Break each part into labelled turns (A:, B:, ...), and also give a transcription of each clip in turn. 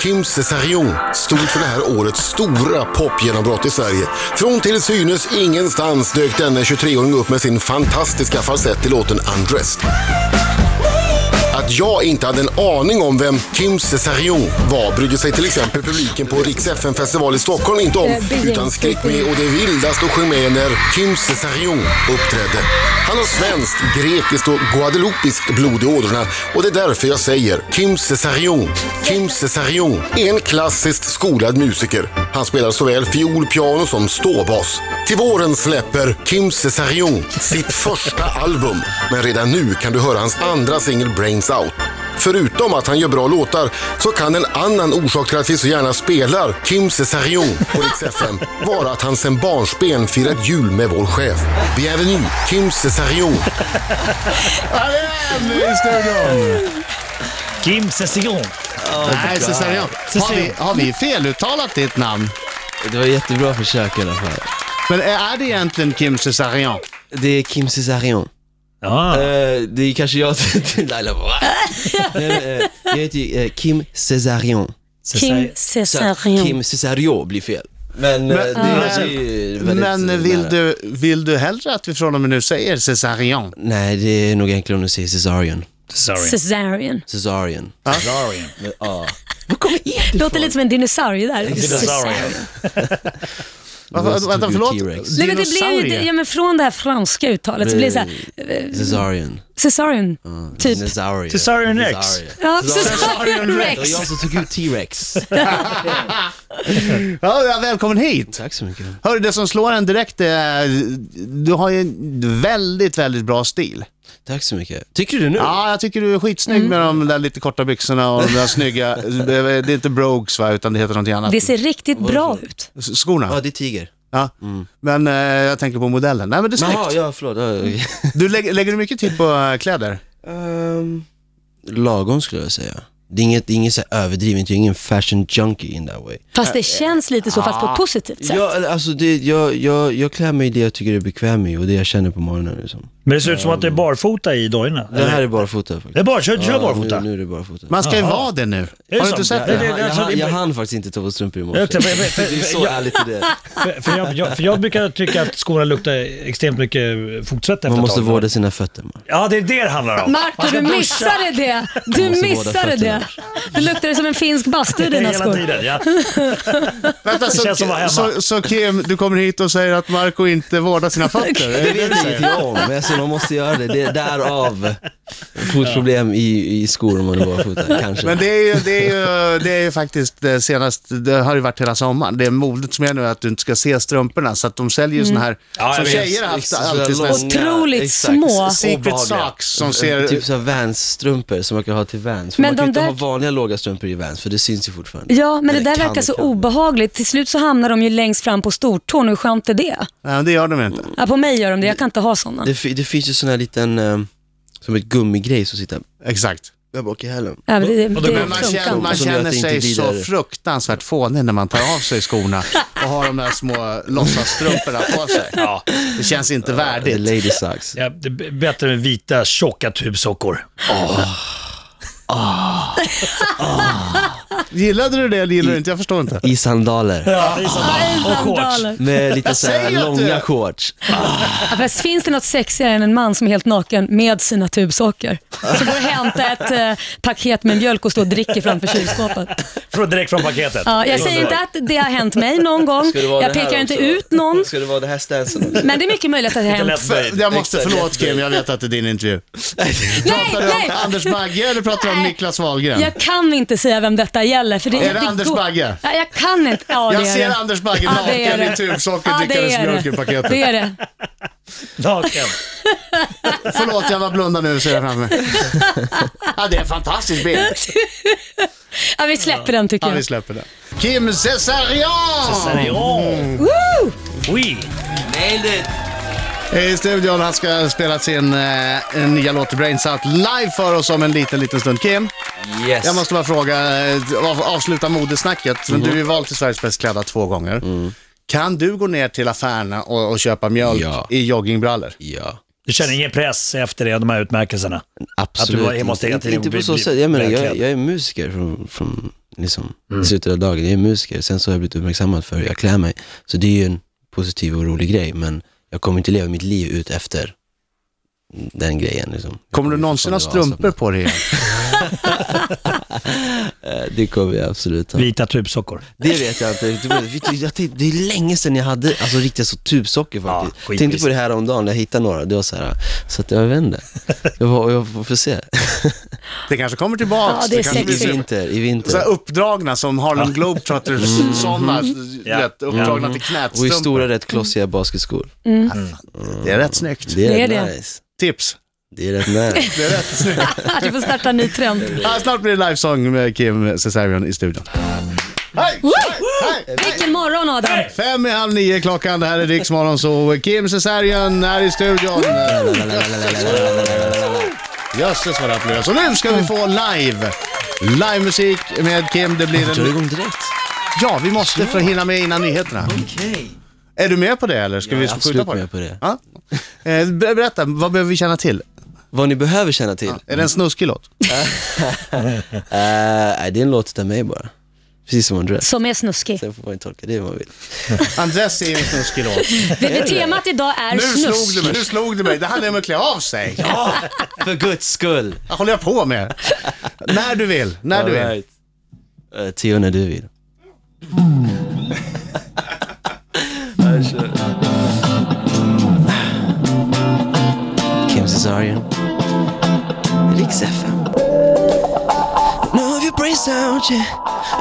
A: Kim Cesarion stod för det här årets stora popgenombrott i Sverige. Från till synes ingenstans dök denne 23-åring upp med sin fantastiska falsett i låten Undressed. Att jag inte hade en aning om vem Kim Cesarion var brydde sig till exempel publiken på Rix FN-festival i Stockholm inte om, utan skrek med och det vildast och sjöng med när Kim Cesarion uppträdde. Han har svenskt, grekiskt och guadeloupiskt blod i ådrorna och det är därför jag säger Kim Cesarion. Kim Cesarion är en klassiskt skolad musiker. Han spelar såväl fiol, piano som ståbas. Till våren släpper Kim Cesarion sitt första album, men redan nu kan du höra hans andra singel Brains Out. Förutom att han gör bra låtar så kan en annan orsak till att vi så gärna spelar Kim Cesarion på Rix FM vara att han sedan barnsben firat jul med vår chef. Bienvenue, Kim Cesarion.
B: Han är en i studion!
C: Kim Cession.
B: Nej, Cesarion. Har vi, har vi feluttalat ditt namn?
D: Det var jättebra försök i alla fall.
B: Men är det egentligen Kim Cesarion?
D: Det är Kim Cesarion.
B: Ah.
C: Ja.
D: Eh, det är kanske jag Laila bara... Nej, men, eh, Jag heter ju, eh, Kim Cesarion.
E: Kim
D: Så att
E: Cesarion.
D: Kim Cesario blir fel. Men, eh, det är
B: men-
D: ju väldigt
B: Men vill
D: nära.
B: du, vill du hellre att vi från och med nu säger Cesarion?
D: Nej, det är nog enklare om du säger Cesarion.
C: Sorry.
E: Cesarion.
D: Cesarion.
B: Ah,
C: Sorry.
D: Ja.
E: Låter lite som en dinosaurie där. Cesarion.
B: Varför, vänta, förlåt?
D: T-Rex.
E: Nej, men det blev ju,
B: Dinosaurie?
E: det- ja, men från det här franska uttalet så blir det så här, eh,
D: Cesarion.
E: Cesarion, typ.
D: Cesarion.
C: Cesarion Rex.
E: Ja,
D: Cesarion.
E: Cesarion
D: Det var
E: Rex.
D: jag som tog ut T-Rex.
B: Ja, ja, välkommen hit!
D: Tack så mycket.
B: Hörru, det som slår en direkt är... Du har ju en väldigt, väldigt bra stil.
D: Tack så mycket. Tycker du det nu?
B: Ja, jag tycker du är skitsnygg med
E: Mm.
B: de där lite korta byxorna och de där snygga... Det är inte brogues va, utan det heter någonting annat.
E: Det ser riktigt bra ut.
D: Ja,
B: Skorna.
D: det är tiger.
B: Ja. Men eh, jag tänker på modellen. Nej, men det är snyggt.
D: Jaha, ja förlåt. Ja, okej.
B: Du lägger, lägger du mycket tid på eh, kläder?
D: Ehm, lagom skulle jag säga. Det är inget, det är inget så här överdrivet, jag är ingen fashion junkie in that way.
E: Fast det känns lite så, fast på ett positivt sätt.
D: Jag, alltså det, jag, jag, jag klär mig i det jag tycker är bekväm i och det jag känner på morgonen liksom.
C: Men det ser ut som att det är barfota i dojorna.
D: Det här är barfota faktiskt.
C: Det är bara, kör, kör barfota.
D: Ja, nu, nu är det barfota.
B: Man ska ju vara det nu.
C: det
B: Har
C: så?
B: du inte sett
C: Ja,
B: det?
D: jag,
C: det-
D: jag, jag,
C: alltså, det-
D: hann- jag hann faktiskt inte ta på strumpor i
C: Jag
D: morse.
C: vet inte, för- för-
D: Det är så
C: jag-
D: ärligt i det.
C: för- för jag- jag- För jag brukar tycka att skorna luktar extremt mycket fotsvett efter
D: Man
C: ett
D: måste
C: tag.
D: vårda sina fötter. Man.
C: Ja, det är det det handlar om.
E: Marco,
C: Man ska
E: du
C: duscha.
E: missade det! Du
D: måste
E: missade
D: båda
E: det! Det luktade som en finsk bastu i
C: Det är
E: dina
C: Hela
E: skor.
C: tiden, ja.
B: Vänta,
C: Det känns som att vara
B: så,
C: hemma.
B: så, så Kim, du kommer hit och säger att Marco inte vårdar sina fötter? Är det
D: Det
B: det du
D: vet
B: säger?
D: ingenting om, men alltså, man måste göra det. Det är därav fotproblem i, i skor om man är barfota, kanske.
B: Men det är, ju, det, är ju, det är ju faktiskt det senaste, det har ju varit hela sommaren. Det är modet som är nu att du inte ska se strumporna, så att de säljer ju såna här,
C: Mm. Ja, jag
B: som
C: vet.
B: tjejer har haft
D: Ex-
B: alltid.
D: så
B: Såna
D: här
B: här
D: långa-
E: Otroligt
D: exakt,
E: små.
D: s-
B: secret
D: obehagliga.
B: socks
C: Mm,
B: som ser...
D: Typ såhär Vans-strumpor som man kan ha till Vans. För
E: Men
D: man kan
E: de
D: inte
E: där-
D: ha vanliga låga strumpor i Vans, för det syns ju fortfarande.
E: Ja, men det
D: Eller
E: där
D: kan,
E: verkar så
D: kan.
E: obehagligt. Till slut så hamnar de ju längst fram på stortån. Hur skönt är det?
B: Nej, men det gör de inte.
E: Ja, på mig gör de det. Jag kan inte ha sådana.
D: Det, fi- det finns ju sån här liten, eh, som ett gummigrej som sitter
B: Exakt.
D: där bak i hälen.
E: Ja, men det, det,
C: då blir
E: det
B: Men man
E: funkar
B: känner,
E: inte.
B: man
D: Som gör att
B: känner
D: det inte
B: sig
D: blir
B: så
D: där.
B: fruktansvärt fånig när man tar av sig skorna och har de där små låtsasstrumporna på sig. Det känns inte
D: The
B: värdigt.
D: lady sucks.
C: ja det är bättre med vita, tjocka tubsockor.
B: Gillade du det eller gillade du inte? Jag förstår inte.
D: I sandaler.
C: Ja, det är sådana. Och shorts.
E: Sandaler.
D: Med lite såhär
B: säger att det-
D: långa shorts.
E: Ja, fast finns det något sexigare än en man som är helt naken med sina tubsockor? Som går och hämtar ett eh, paket med mjölk och står och dricker framför kylskåpet.
C: Från- Direkt från paketet.
E: Ja, jag säger inte att det har hänt mig någon gång.
D: Ska det vara
E: Jag
D: det här
E: pekar inte
D: också?
E: ut någon.
D: Ska det vara det här stansen också?
E: Men det är mycket möjligt att det har
C: Lite
E: hänt.
C: lätt
B: För,
C: böjd.
B: jag måste,
D: Exakt,
B: förlåt
D: jättebra.
B: Kim, jag vet att det är din intervju.
E: Nej,
B: Pratar du om
E: nej!
B: Anders Bagge eller pratar du om Niklas Wahlgren?
E: Jag kan inte säga vem detta gäller. För det,
B: Är det Anders
E: går-
B: Bagge?
E: Ja, jag kan inte. Ja, det
B: Jag
E: är
B: ser
E: det.
B: Anders Bagge
E: Ja, det är
B: naken i
E: det.
B: tubsocker drickandes mjölk i paketet.
E: Det är det.
C: Naken.
B: Förlåt, jag var blundad nu ser jag framför mig. Ja, det är en fantastisk bild.
E: Ja, vi släpper den tycker
B: Ja, vi
E: jag.
B: släpper den. Kim Cesarion!
C: Serion.
E: Woo!
C: Oui.
B: I studion, han ska spela sin eh, nya låt Brains Out live för oss om en liten, liten stund. Kim,
D: Yes.
B: jag måste bara fråga, eh, av, avsluta modesnacket. Men Du är ju vald till Sveriges bäst klädda två gånger. Kan du gå ner till affärerna och, och köpa mjölk
D: Ja.
B: i joggingbrallor?
D: Ja.
C: Du känner ingen press efter det, de här utmärkelserna?
D: Absolut
C: Att du bara måste hela
D: inte.
C: tiden
D: Inte på
C: bli-
D: så
C: bli
D: sätt. Jag menar, jag,
C: välklädd.
D: jag är musiker från, från liksom,
C: Mm.
D: slutet av dagen. Jag är musiker. Sen så har jag blivit uppmärksammad för hur jag klär mig. Så det är ju en positiv och rolig grej, men jag kommer inte leva mitt liv ut efter den grejen. Liksom. Jag
B: Kommer du någonsin ha
D: fortfarande vara
B: strumpor på dig igen?
D: avslappnad. Eh, Det kommer jag absolut ha.
C: Vita tubsockor.
D: Det vet jag inte. Du vet, vet du, jag tänkte- Det är länge sedan jag hade alltså, riktigt så tubsocker faktiskt.
C: Ja, skitvis.
D: tänkte på det här om dagen när jag hittade några. Det var så här, så att jag vände. Jag, var, jag får se.
B: Det kanske kommer tillbaka.
E: Ja, det är
D: I,
B: kanske
D: I
B: blir
E: sexigt.
B: så-
D: vinter, i vinter.
B: så här uppdragna som Harlem Globetrotters, sådana,
C: Ja.
B: rätt uppdragna till
D: Och i
B: knät.
D: stora rätt klossiga basketskor.
B: Det är rätt snyggt.
D: Det är,
E: Det är
D: rätt
E: det.
D: nice.
B: Tips.
D: Det är rätt nice.
B: Det är rätt snyggt.
E: Du får starta en ny trend.
B: Ja, snart blir det livesång med Kim Cesarion i studion. Hej!
E: Woo!
B: Hej!
E: Vilken morgon Adam!
B: Fem i halv nio klockan, det här är Rix Morgon, så Kim Cesarion är i studion. Jösses vad det applåderas. Och nu ska vi få live! Livemusik med Kim, det blir
D: Drar
B: en...
D: igång direkt.
B: Ja, vi måste för att hinna med innan nyheterna.
D: Okej.
B: Är du med på det eller ska
D: Jag
B: vi
D: är
B: skjuta
D: absolut
B: på det?
D: med på det.
B: Ja. Eh, ber- Berätta, vad behöver vi känna till?
D: Vad ni behöver känna till,
B: Är det en snuskig låt?
D: Eh, nej, det är en låt av mig bara. Precis som Andres.
E: Som är snuskig.
D: Sen får man ju tolka det hur man vill.
B: Andres är ju en snuskig låt.
E: Det, det temat idag är
B: Nu slog du
E: snusk.
B: mig, nu slog du mig. Det handlar om att klä av sig.
D: För guds skull!
B: Vad håller jag på med? När du vill, när du vill.
D: Alright. Eh, Theo, när du vill. Kim Cesarion. Rix FM. Love your brace out, yeah.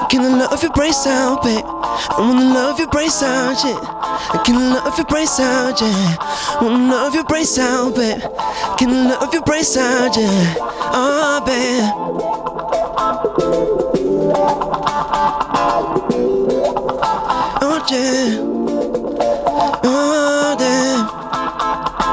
D: Can I love your brace out, babe? I wanna love your brace out, yeah. Can I love your brace out, yeah. Wanna love your brace out, babe? Can I love your brace out, yeah. Oh, babe. Oh, yeah. Oh, damn.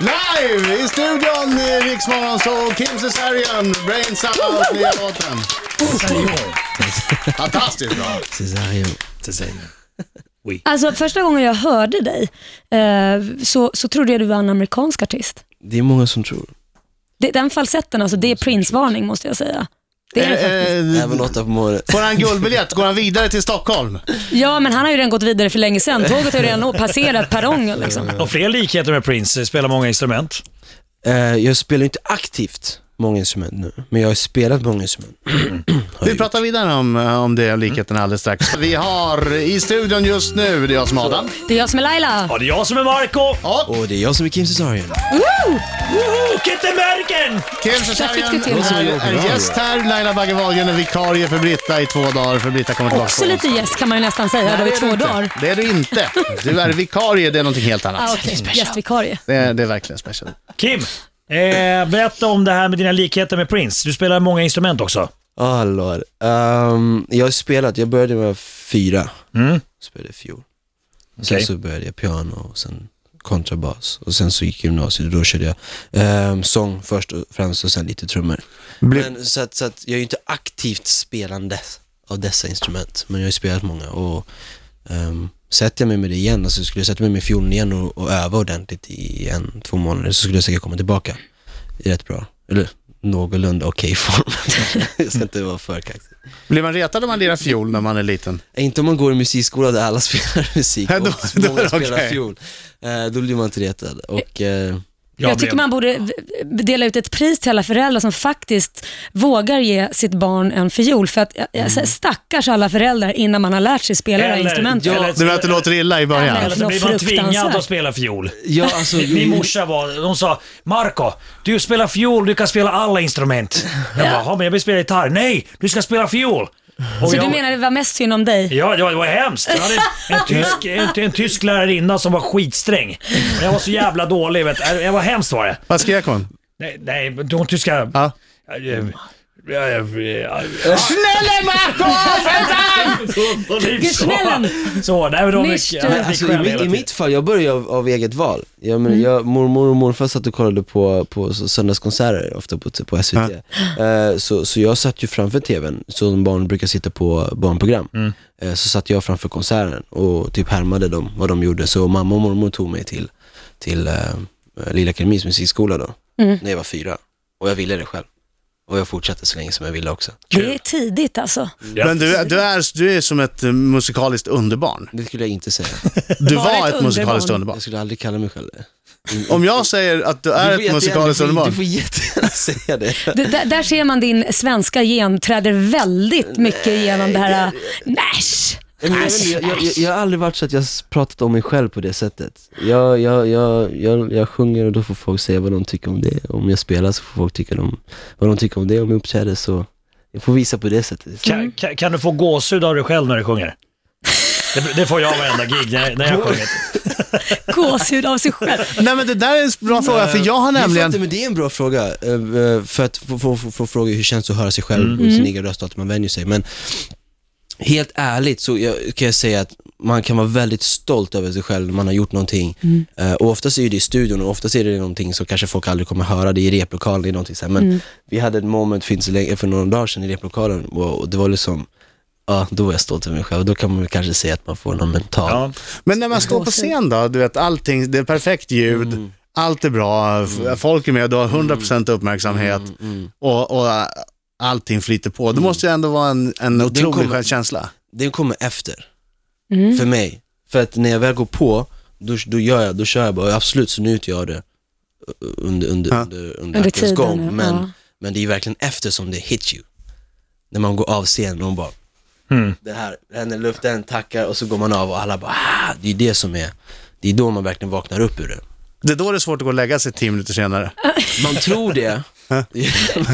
B: Live i studion i Riksmorgon så Kim Cesarion, Brain Sound, nya låten. Fantastiskt bra.
D: Cesarion.
E: Alltså första gången jag hörde dig eh, så, så trodde jag du var en amerikansk artist.
D: Det är många som tror.
E: Det, den falsetten, alltså, det är Prince-varning måste jag säga. Det är det faktiskt.
B: Eh,
D: Även åtta på morgonen.
B: Får han guldbiljett går han vidare till Stockholm.
E: Ja, men han har ju redan gått vidare för länge sedan. Tåget har ju redan passerat perrongen. Liksom.
C: Och fler likheter med Prince, spelar många instrument.
D: Eh, jag spelar inte aktivt många instrument nu, men jag har spelat många instrument. Har
B: Vi
D: jag
B: pratar vidare om, eh, om det och likheterna alldeles strax. Vi har i studion just nu, det är jag som är Adam.
E: Det är jag som är Laila.
C: Ja, det är jag som är Marco
D: gjort. Och det är jag som är Kim Cesarion.
C: Kittenbergen!
B: Kim
E: fick du till
B: Cesarion
E: det.
B: är en gäst här. Laila Bagge Wahlgren är vikarie för Britta i två dagar, för Britta kommer tillbaka.
E: Också lite gäst kan man ju nästan säga. Det var
B: Nej,
E: i
B: det är du
E: två
B: inte.
E: dagar.
B: Det är du inte. Du är vikarie, det är någonting helt annat.
E: Ah, okay. Gästvikarie.
B: Det är, det är verkligen special.
C: Kim, eh, berätta om det här med dina likheter med Prince. Du spelar många instrument också.
D: Ja, lord. Ehm, jag har spelat, jag började när jag var fyra.
C: Mm.
D: Spelade fiol.
C: Okej.
D: Sen så började jag piano och sen kontrabas. Och sen så gick jag gymnasiet och då körde jag ehm, sång först och främst och sen lite trummor. Men, så att, så att jag är ju inte aktivt spelande av dessa instrument, men jag har ju spelat många. Och, ehm, sätter jag mig med det igen, alltså skulle jag sätta mig med fiolen igen och, och öva ordentligt i en, två månader så skulle jag säkert komma tillbaka i rätt bra, eller någorlunda okej form. jag ska inte vara för kaxig.
B: Blir man retad om man lirar fiol när man är liten?
D: Eh, Inte om man går i musikskola där alla spelar musik
B: Ja,
D: och
B: då- då är
D: många
B: det
D: spelar
B: okej.
D: fiol. Eh, då blir man inte retad. Och, eh,
E: Jag, tycker man borde v- dela ut ett pris till alla föräldrar som faktiskt vågar ge sitt barn en fiol. För att, mm. stackars alla föräldrar innan man har lärt sig spela det här instrumentet.
B: Du menar att det låter illa i början?
E: Ja,
C: Eller så blir man tvingad
E: Fruktansvärt.
C: att spela fiol.
D: ja, alltså,
C: Min morsa var, hon sa Marco, du spelar fiol, du kan spela alla instrument. Jag bara, "Ja, men jag vill spela gitarr. Nej, du ska spela fiol. Och
E: Så
C: jag,
E: du menar det var mest synd om dig?
C: Ja, det var, det var hemskt. Jag hade en, en, tysk, en, en tysk lärarinna som var skitsträng. Men Jag var så jävla dålig. Vet, du. jag var hemskt var det.
B: Vad skrek hon?
C: Nej, nej men hon tyska...
B: Ja.
C: Eh, Ja, ja, ja, ja.
B: Snälla Marco, för fan!
C: Typ så.
E: Gudsnällen.
C: Så, nej men de
E: Mist,
C: är...
E: du.
C: Men
D: Men alltså, i, mitt, I mitt fall, jag började av, av eget val. Jag, men,
B: Mm.
D: jag, mormor och morfar satt och kollade på, på så- söndagskonserter, ofta på, på SVT. Eh, så, så jag satt ju framför TVn, så som barn brukar sitta på barnprogram.
B: Mm.
D: Eh, så satt jag framför konserten och typ härmade dem, vad de gjorde. Så mamma och mormor tog mig till, till eh, Lilla Akademis musikskola då,
B: Mm.
D: när jag var fyra. Och jag ville det själv. Och jag fortsatte så länge som jag ville också.
E: Det är tidigt alltså.
C: Ja.
B: Men du, du, är, du är som ett eh, musikaliskt underbarn.
D: Det skulle jag inte säga.
B: Du
E: Var
B: var
E: ett
B: ett musikaliskt
E: underbarn.
B: underbarn.
D: Jag skulle aldrig kalla mig själv det.
B: Om jag säger att du är
D: Du
B: ett
D: får jättegärna- du
B: musikaliskt
D: får- Du
B: underbarn.
D: får jättegärna säga det.
E: Det, där, där ser man din svenska gen träder väldigt mycket genom det här... eh, Nash!
D: Nej, men Jag, vet inte, jag, jag, jag har aldrig varit så att jag s- pratat om mig själv på det sättet. Jag, jag, jag, jag, jag sjunger och då får folk säga vad de tycker om det. Om jag spelar så får folk tycka om, vad de tycker om det. Om jag uppträder så, jag får visa på det sättet.
C: Kan, kan, kan du få gåshud av dig själv när du sjunger? Det, det får jag varenda gig när, när jag sjunger.
E: Gåshud av sig själv.
B: Nej men det där är en bra fråga, för jag har
D: Eh, Det är för att-
B: nämligen...
D: men det är en bra fråga, eh, eh, för att få, få, få, få fråga hur känns det att höra sig själv
B: Mm.
D: och sin egen röst och allt, man vänjer sig. Men helt ärligt så jag, kan jag säga att man kan vara väldigt stolt över sig själv när man har gjort någonting.
B: Mm.
D: Eh, och oftast är ju det i studion och oftast är det någonting som kanske folk aldrig kommer höra, det är i replokalen, det är någonting så här. Men
B: Mm.
D: vi hade ett moment för, inte så länge, för några dagar sedan i replokalen och, och det var liksom, ja då var jag stolt över mig själv. Då kan man väl kanske säga att man får någon mental
C: Ja.
B: Men när man står på scen då, du vet allting, det är perfekt
D: Mm.
B: ljud, allt är bra, f- folk är med, du har 100% uppmärksamhet
D: Mm,
B: och, och äh, allting flyter på. Det måste ju ändå vara en, en otrolig
D: kommer-
B: självkänsla.
D: den kommer efter.
E: Mm.
D: För mig. För att när jag väl går på, då, då gör jag, då kör jag bara, absolut så njuter jag av det eh, under, under,
B: Ja.
D: under, under,
E: Under
D: aktens
E: tiden,
D: gång.
E: ja.
D: Men,
E: Ja.
D: men det är ju verkligen efter som det hits you. När man går av scenen och bara,
C: Mm.
D: det här, händer i luften, tackar och så går man av och alla bara, ah, det är det som är, det är då man verkligen vaknar upp ur det.
B: Det är då det är svårt att gå och lägga sig tio minuter senare.
D: Man tror det.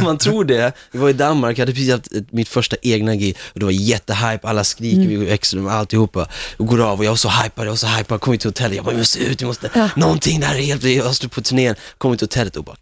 D: man tror det. Vi var i Danmark, jag hade precis haft ett- mitt första egna gig och det var jättehype, alla
E: Mm.
D: skriker, vi växlar med alltihopa. Och går av och jag var så hypad, jag var så hypad, kom hit till hotellet, jag bara, vi måste ut, vi måste, någonting, det här är helt, jag måste på turnén. Kom hit till hotellet och bara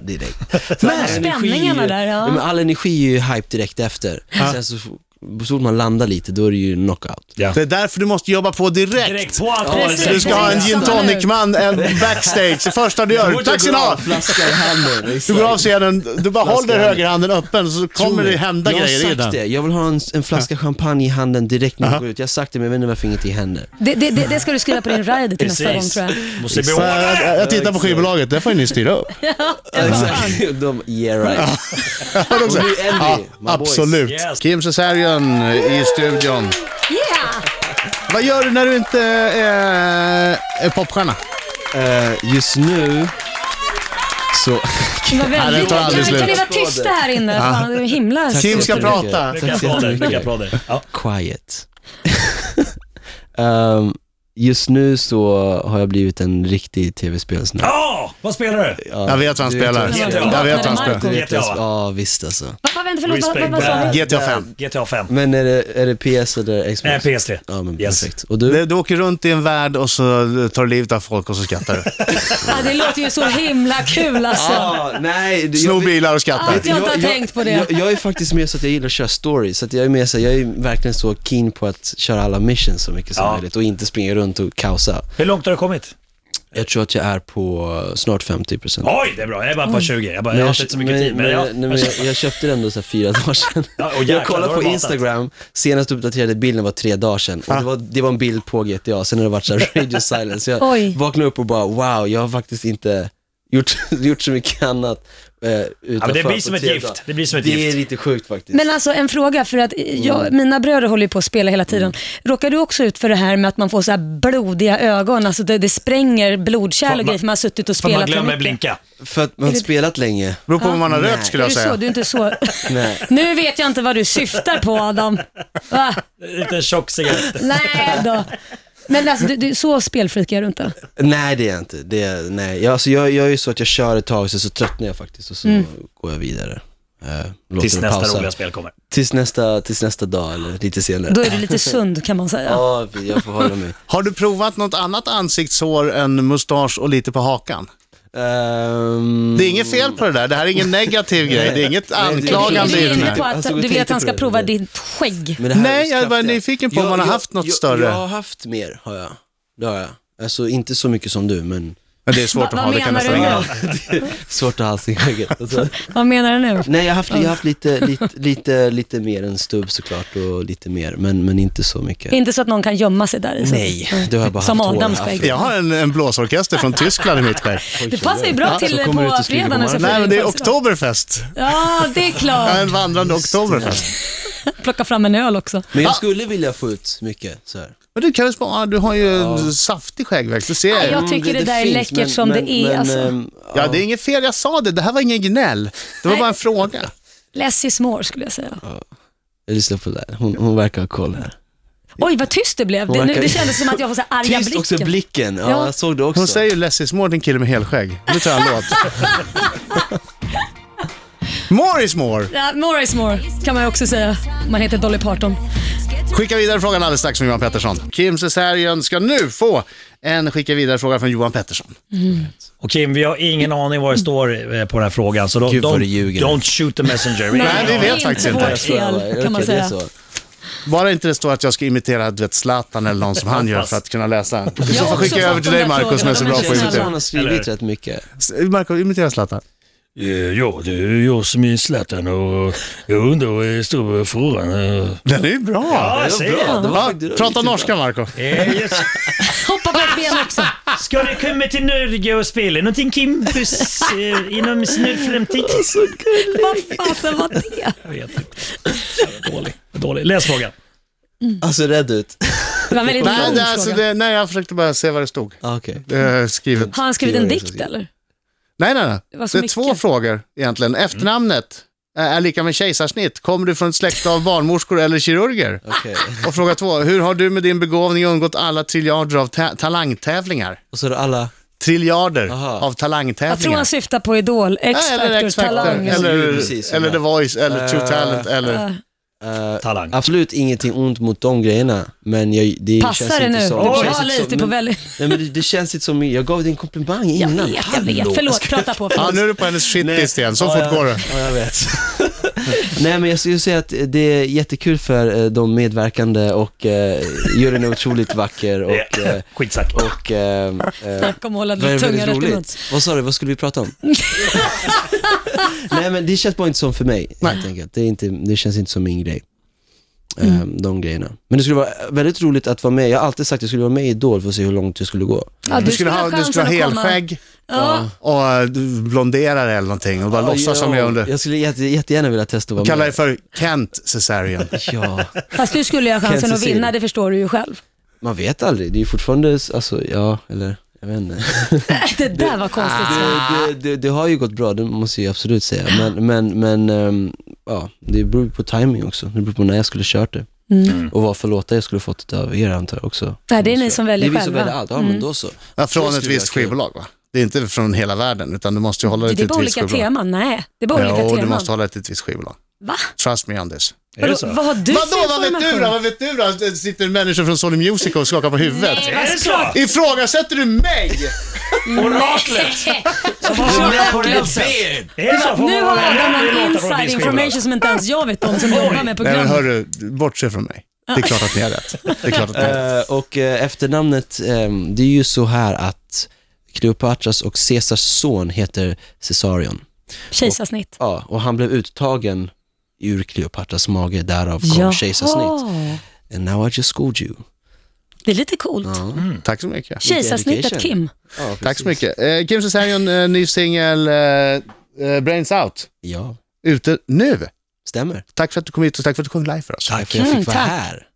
D: direkt. Så all energi är ju-
E: spänningarna där, ja.
D: men all energi är ju hype direkt efter. Sen så, så fort man landar lite, då är det ju knockout.
C: Ja.
B: Det är därför du måste jobba på direkt.
C: Direkt på allt.
E: Precis.
B: Du ska ha en
E: Direkt
B: gin
E: som
B: tonic-man en backstage, det första du gör. Tack ska ni ha!
D: Flaska i handen.
B: Du
E: liksom.
D: exakt.
B: går av scenen, du bara
D: Flaska
B: håller
D: i handen.
B: högerhanden öppen så kommer det hända
D: jag
B: grejer i
D: har sagt
B: den.
D: det, jag vill ha en, en flaska champagne i handen direkt när jag går ut. Jag har sagt det men jag vet inte varför ingenting händer.
E: Det, det, det, det ska du skriva på din rider till nästa gång
C: Precis.
E: tror jag.
C: Måste bli
B: Så jag, jag tittar på skivbolaget, det får ju ni styra upp.
D: Exakt. Alltså, De, yeah right. Och nu är
B: Ja,
D: vi, my boys.
B: absolut.
C: Yes.
B: Kim Cesarion i studion.
E: Yeah!
B: Vad gör du när du inte eh, är popstjärna?
D: Eh, just nu så...
E: Det var väldigt...
B: tar
E: Kan,
B: aldrig
E: kan ni
B: slut.
E: vara tysta här inne? Fan, det är himla...
B: Kim ska
D: Tack så mycket.
B: prata.
D: Tack
C: Mycket
D: så
C: applåder,
D: jättemycket.
C: mycket applåder. Ja.
D: Quiet. Ehm, just nu så har jag blivit en riktig tv-spelsnörd.
C: Ja, vad spelar du?
B: Jag vet vad han
D: Du vet
B: spelar.
D: vad
C: jag spelar.
B: Jag vet vad han
E: Marco.
B: spelar.
D: Du vet,
C: GTA,
D: jag-
C: va?
D: ja visst alltså.
E: Vad- Vad vänta, förlåt, vad, vad, vad sa
C: Respect.
E: vi?
B: GTA 5.
C: GTA 5.
D: Men är det, är det PS eller Xbox?
C: Nej, PS3.
D: Ja men
C: Yes.
D: perfekt. Och du?
B: Du, du åker runt i en värld och så tar du livet av folk och så skrattar du.
E: Ja, det låter ju så himla kul alltså.
D: Ah, nej, det- jag
B: Snor
D: vet-
B: bilar och skrattar.
E: Att jag inte har tänkt på det.
D: Jag, jag är faktiskt mer så att jag gillar att köra stories, så att jag är mer så jag är verkligen så keen på att köra alla missions så mycket som
C: Ja.
D: möjligt och inte springa runt och kaosa.
C: Hur långt har du kommit?
D: Jag tror att jag är på eh, snart 50%.
C: Oj, det är bra. Jag är bara på 20. Jag, bara, jag har inte så mycket
D: men,
C: tid, men jag...
D: men, nej, men jag, jag köpte den ändå så här fyra dagar sedan.
C: Ja, och jäklar,
D: jag kollade
C: då har
D: på
C: du matat.
D: Instagram, senast uppdaterade bilden var tre dagar sedan. Och det, var, det var en bild på GTA, sen har det varit så här radio silence. Så jag
E: Oj.
D: vaknade upp och bara wow, jag har faktiskt inte gjort, gjort så mycket annat eh, utanför
C: blir
D: på
C: som ett
D: tre
C: gift.
D: dagar.
C: Det blir som ett
D: Det är
C: gift.
D: lite sjukt faktiskt.
E: Men alltså en fråga, för att
B: Mm.
E: jag, mina bröder håller ju på att spela hela tiden. Råkar du också ut för det här med att man får så här blodiga ögon, alltså det, det spränger blodkärl
C: För
E: och grejer
C: att man-
E: för man har suttit och
C: För
E: spelat
C: man glömmer
E: mycket?
C: blinka.
D: För att man har
E: det-
D: spelat länge.
B: Beror på vad man har rökt skulle
E: Är
B: jag
E: du så?
B: säga.
E: Du är inte så...
D: Nej.
E: Nu vet jag inte vad du syftar på Adam. Va?
C: Inte en tjock cigarett.
E: Nej då. Men alltså, du, du, så spelfreak är du inte.
D: Nej det är jag inte. Det är, nej. Jag, alltså, jag, jag är ju så att jag kör ett tag, sen så tröttnar jag faktiskt och så
E: Mm.
D: går jag vidare. Eh, låter
C: Tills
D: det pausa.
C: nästa roliga spel kommer.
D: Tills nästa, tills nästa dag eller lite senare.
E: Då är du lite sund kan man säga.
D: Ja, jag får hålla mig.
B: Har du provat något annat ansiktshår än mustasch och lite på hakan?
D: Ehm,
B: Det är inget fel på det där. Det här är ingen negativ grej. Det är inget anklagande
E: Du
B: i
E: är
B: den
E: inne på
B: här.
E: att
D: Alltså, vi
E: du vill att han
D: tänkte
E: ska
D: på det.
E: prova ditt skägg.
D: men det här
B: Nej, jag är bara
D: kraftiga.
B: nyfiken på om man har haft något
D: jag,
B: större.
D: Jag har haft mer, har jag. Det har jag. Alltså inte så mycket som du, men
B: Men det är svårt
E: Va-
B: att ha,
E: vad
B: det kan jag
E: menar
B: säga.
E: du
D: svårt att ha alls i skägget. Alltså.
E: Vad menar du nu?
D: Nej, jag har haft, jag har haft lite, lite, lite, lite mer än stubb såklart och lite mer, men, men inte så mycket.
E: Inte så att någon kan gömma sig där i. så.
D: Nej, det har jag bara
E: Som
D: haft
E: Adams
D: hårafro.
E: skägg.
B: Jag har en, en blåsorkester från Tyskland i mitt skägg.
E: Det passar ju bra
D: Ja,
E: till
D: så kommer du ut
E: på
D: och skriker
E: fredag
D: på
E: när Sofie
B: Nej, men det är
E: födelsedag.
B: oktoberfest.
E: Ja, det är
B: Jag är
E: klart.
B: en vandrande oktoberfest.
E: Plocka fram en öl också.
D: Men jag skulle vilja få ut mycket så här.
B: Men du, Kalle Spahn, du har ju en saftig skäggväxt, det ser
E: Ja,
B: jag ju.
E: jag tycker det, där är
D: Mm, finns,
E: läckert
D: men-
E: som
D: men-
E: det är.
D: men,
E: alltså.
D: ehm,
B: Ja, det är inget fel, jag sa det. Det här var ingen gnäll. Det var
E: Nej.
B: bara en fråga.
E: Less is more skulle jag säga.
D: Jag lyssnar på det där. Hon, hon verkar ha koll här.
E: Oj, vad tyst det blev.
D: Hon
E: Det, nu,
D: verkar-
E: det kändes som att jag får så här arga
D: Tyst också
E: blicken.
D: blicken. Ja,
E: Ja.
D: jag såg det också.
B: Hon säger ju Less is more, din kille med helskägg. Nu tar jag en låt. More is more!
E: Ja, more is more kan man ju också säga. Man heter Dolly Parton.
B: Skicka vidare frågan alldeles strax från Johan Pettersson. Kim Cesarion ska nu få en skicka vidare fråga från Johan Pettersson.
C: Och Kim, vi har ingen aning vad det står eh, på den här frågan, så då,
D: Gud, vad
C: don't,
D: du ljuger.
C: don't shoot the messenger.
B: Nej, vi
E: det
B: vet
E: är
B: faktiskt
E: inte.
B: inte.
E: vårt fel kan man säga.
B: Bara inte det står att jag ska imitera du vet, Zlatan eller någon som han gör för att kunna läsa den. I
E: Jag har
B: så fall
E: också
B: skickar jag över
E: fått
B: till
E: de där
B: dig Marco som är
E: frågorna,
B: så
E: men
B: bra
E: det känns
B: på att
D: Känns som hon
B: imitera.
D: har skrivit
C: Eller-
D: rätt mycket.
B: Marco, imitera Zlatan.
C: Eh, Ja, det är jag som är Zlatan och jag undrar vad det står på frågan. eh.
B: Den är ju bra!
C: Ja, jag ser det.
D: det var
B: Ja,
D: faktiskt roligt.
B: prata norska Marco.
C: Eh, yes.
E: Hoppa på ett ben också.
C: Ska du komma till Norge och spela någonting Kim Puss, eh, inom snar framtid?
D: Alltså,
E: Vad fasen var det?
C: Jag vet inte. Dålig. Dålig. Läs frågan.
D: Alltså rädd ut.
E: Det var en väldigt
B: Nej,
E: lång
B: det, alltså,
E: fråga.
B: det, nej, jag försökte bara se vad det stod.
D: Ah, Okej.
B: Det är skrivet.
E: Har han skrivit en dikt eller?
B: Nej, nej, nej. Det,
E: Det var så
B: är
E: mycket. Mm.
B: två frågor egentligen. Efternamnet eh, är lika med kejsarsnitt. Kommer du från ett släkte av barnmorskor eller kirurger?
D: Okej.
B: Och fråga två, hur har du med din begåvning undgått alla triljarder av ta- talangtävlingar?
D: Och så är det alla...
B: Triljarder
D: Aha.
B: av
E: Jag tror han
B: talangtävlingar.
E: syftar på Idol,
B: Ja, eller
E: X-Factor, Talang.
D: eller-
B: eller,
D: Precis, som
B: eller
D: jag.
B: The Voice, eller True
D: Eh,
B: Talent, eller...
E: Ja.
D: eh,
C: Talang.
D: absolut ingenting ont mot de grejerna, men jag, det känns
E: Passar det
D: inte
E: nu?
D: som...
E: Det
D: känns
E: var
D: inte som-
E: lite på
D: men-
E: väldigt...
D: Nej, men det, det känns inte som... Jag gav dig en komplimang
E: Jag
D: innan.
E: vet, jag vet. Förlåt, prata på.
B: Ja,
E: förlåt.
B: nu är du på hennes shitlist igen. Så
D: Ja,
B: fort
D: jag-
B: går det.
D: Ja, jag vet. Nej, men jag skulle säga att det är jättekul för eh, de medverkande och eh, juryn är otroligt vacker och... eh,
C: Skitsack.
D: och eh, eh,
E: Snacka om att hålla
D: Vad är
E: tungan
D: väldigt
E: rätt i mun.
D: roligt? Vad sa du, vad skulle vi prata om? Nej men det känns bara inte som för mig, helt enkelt. Det, är inte, det känns inte som min grej. Ehm, De grejerna. Men det skulle vara eh, väldigt roligt att vara med. Jag har alltid sagt att jag skulle vara med i Idol för att se hur långt jag skulle gå.
E: Ja,
B: Du skulle ha, du skulle ha
E: chansen att komma.
B: helskägg
E: Ja,
B: och eh, du blonderare eller någonting och bara låtsas som jag under.
D: Jag skulle jätte, jättegärna vilja testa att vara
B: Kalla dig
D: med.
B: för Kent Cesarion.
D: Ja,
E: fast du skulle ju ha chansen
D: Kansas
E: att
D: City.
E: vinna, det förstår du ju själv.
D: man vet aldrig. Det är ju fortfarande, alltså ja, eller jag vet inte.
E: Ah. Det där var konstigt.
D: Det, det, det, det har ju gått bra, det måste jag absolut säga. Men, men, men ehm, ja, det beror ju på timing också. Det beror på när jag skulle kört det. Och vad för låtar jag skulle fått av er antar jag också.
E: Mm. Nej, det är ni som väljer
D: det är vi som
E: själva. Mm.
D: väljer allt. Ja, men då så.
B: Ja,
D: Då
B: från
D: skulle
B: ett
D: vi
B: visst
D: ha kul.
B: skivbolag va? Det är inte från hela världen utan du måste ju hålla dig
E: Det
B: till
E: är bara
B: ett visst
E: olika
B: skivbolag.
E: teman. Nej, det är bara olika
B: Jo, du
E: teman.
B: måste hålla dig till ett visst skivbolag.
E: Va?
B: Trust me on this.
C: Är det
E: Vadå,
C: så?
E: Vad har du
B: Vadå,
E: för
B: vad vet du då?
E: information?
B: Vad vet du då? Det Sitter människor från Sony Music och skakar på huvudet?
E: Nej,
C: Är det så?
B: Ifrågasätter du mig?
C: Oraklet! Som har varit på rälsen. Är det så? Får man
E: Nu
C: vara
E: har
C: med?
E: Adam
C: Det
E: en
C: låter från
E: inside
C: ditt skivbolag.
E: information som inte ens jag vet om som jobbar med
B: Nej men
E: programmet.
B: hörru, bortse från mig. Det är klart att ni har rätt. Det är klart att ni har rätt.
D: Eh, och eh, efternamnet, ehm, det är ju så här att Kleopatras och Caesars son heter Caesarion.
E: Kejsarsnitt.
D: Ja, och han blev uttagen ur Kleopatras mage, därav kom kejsarsnitt.
E: Jaha.
D: And now I just schooled you.
E: Det är lite coolt.
D: Ja,
B: Tack så mycket.
E: Kejsarsnittet
D: Education.
E: Kim.
D: ja, precis.
B: Mm. Tack så mycket. Eh, Kim Cesarion, eh, ny singel eh, eh, Brains Out,
D: Ja,
B: ute nu.
D: stämmer.
B: Tack för att du kom hit och tack för att du sjöng live för oss.
D: Tack för att jag
E: Mm,
D: fick vara
E: tack.
D: här.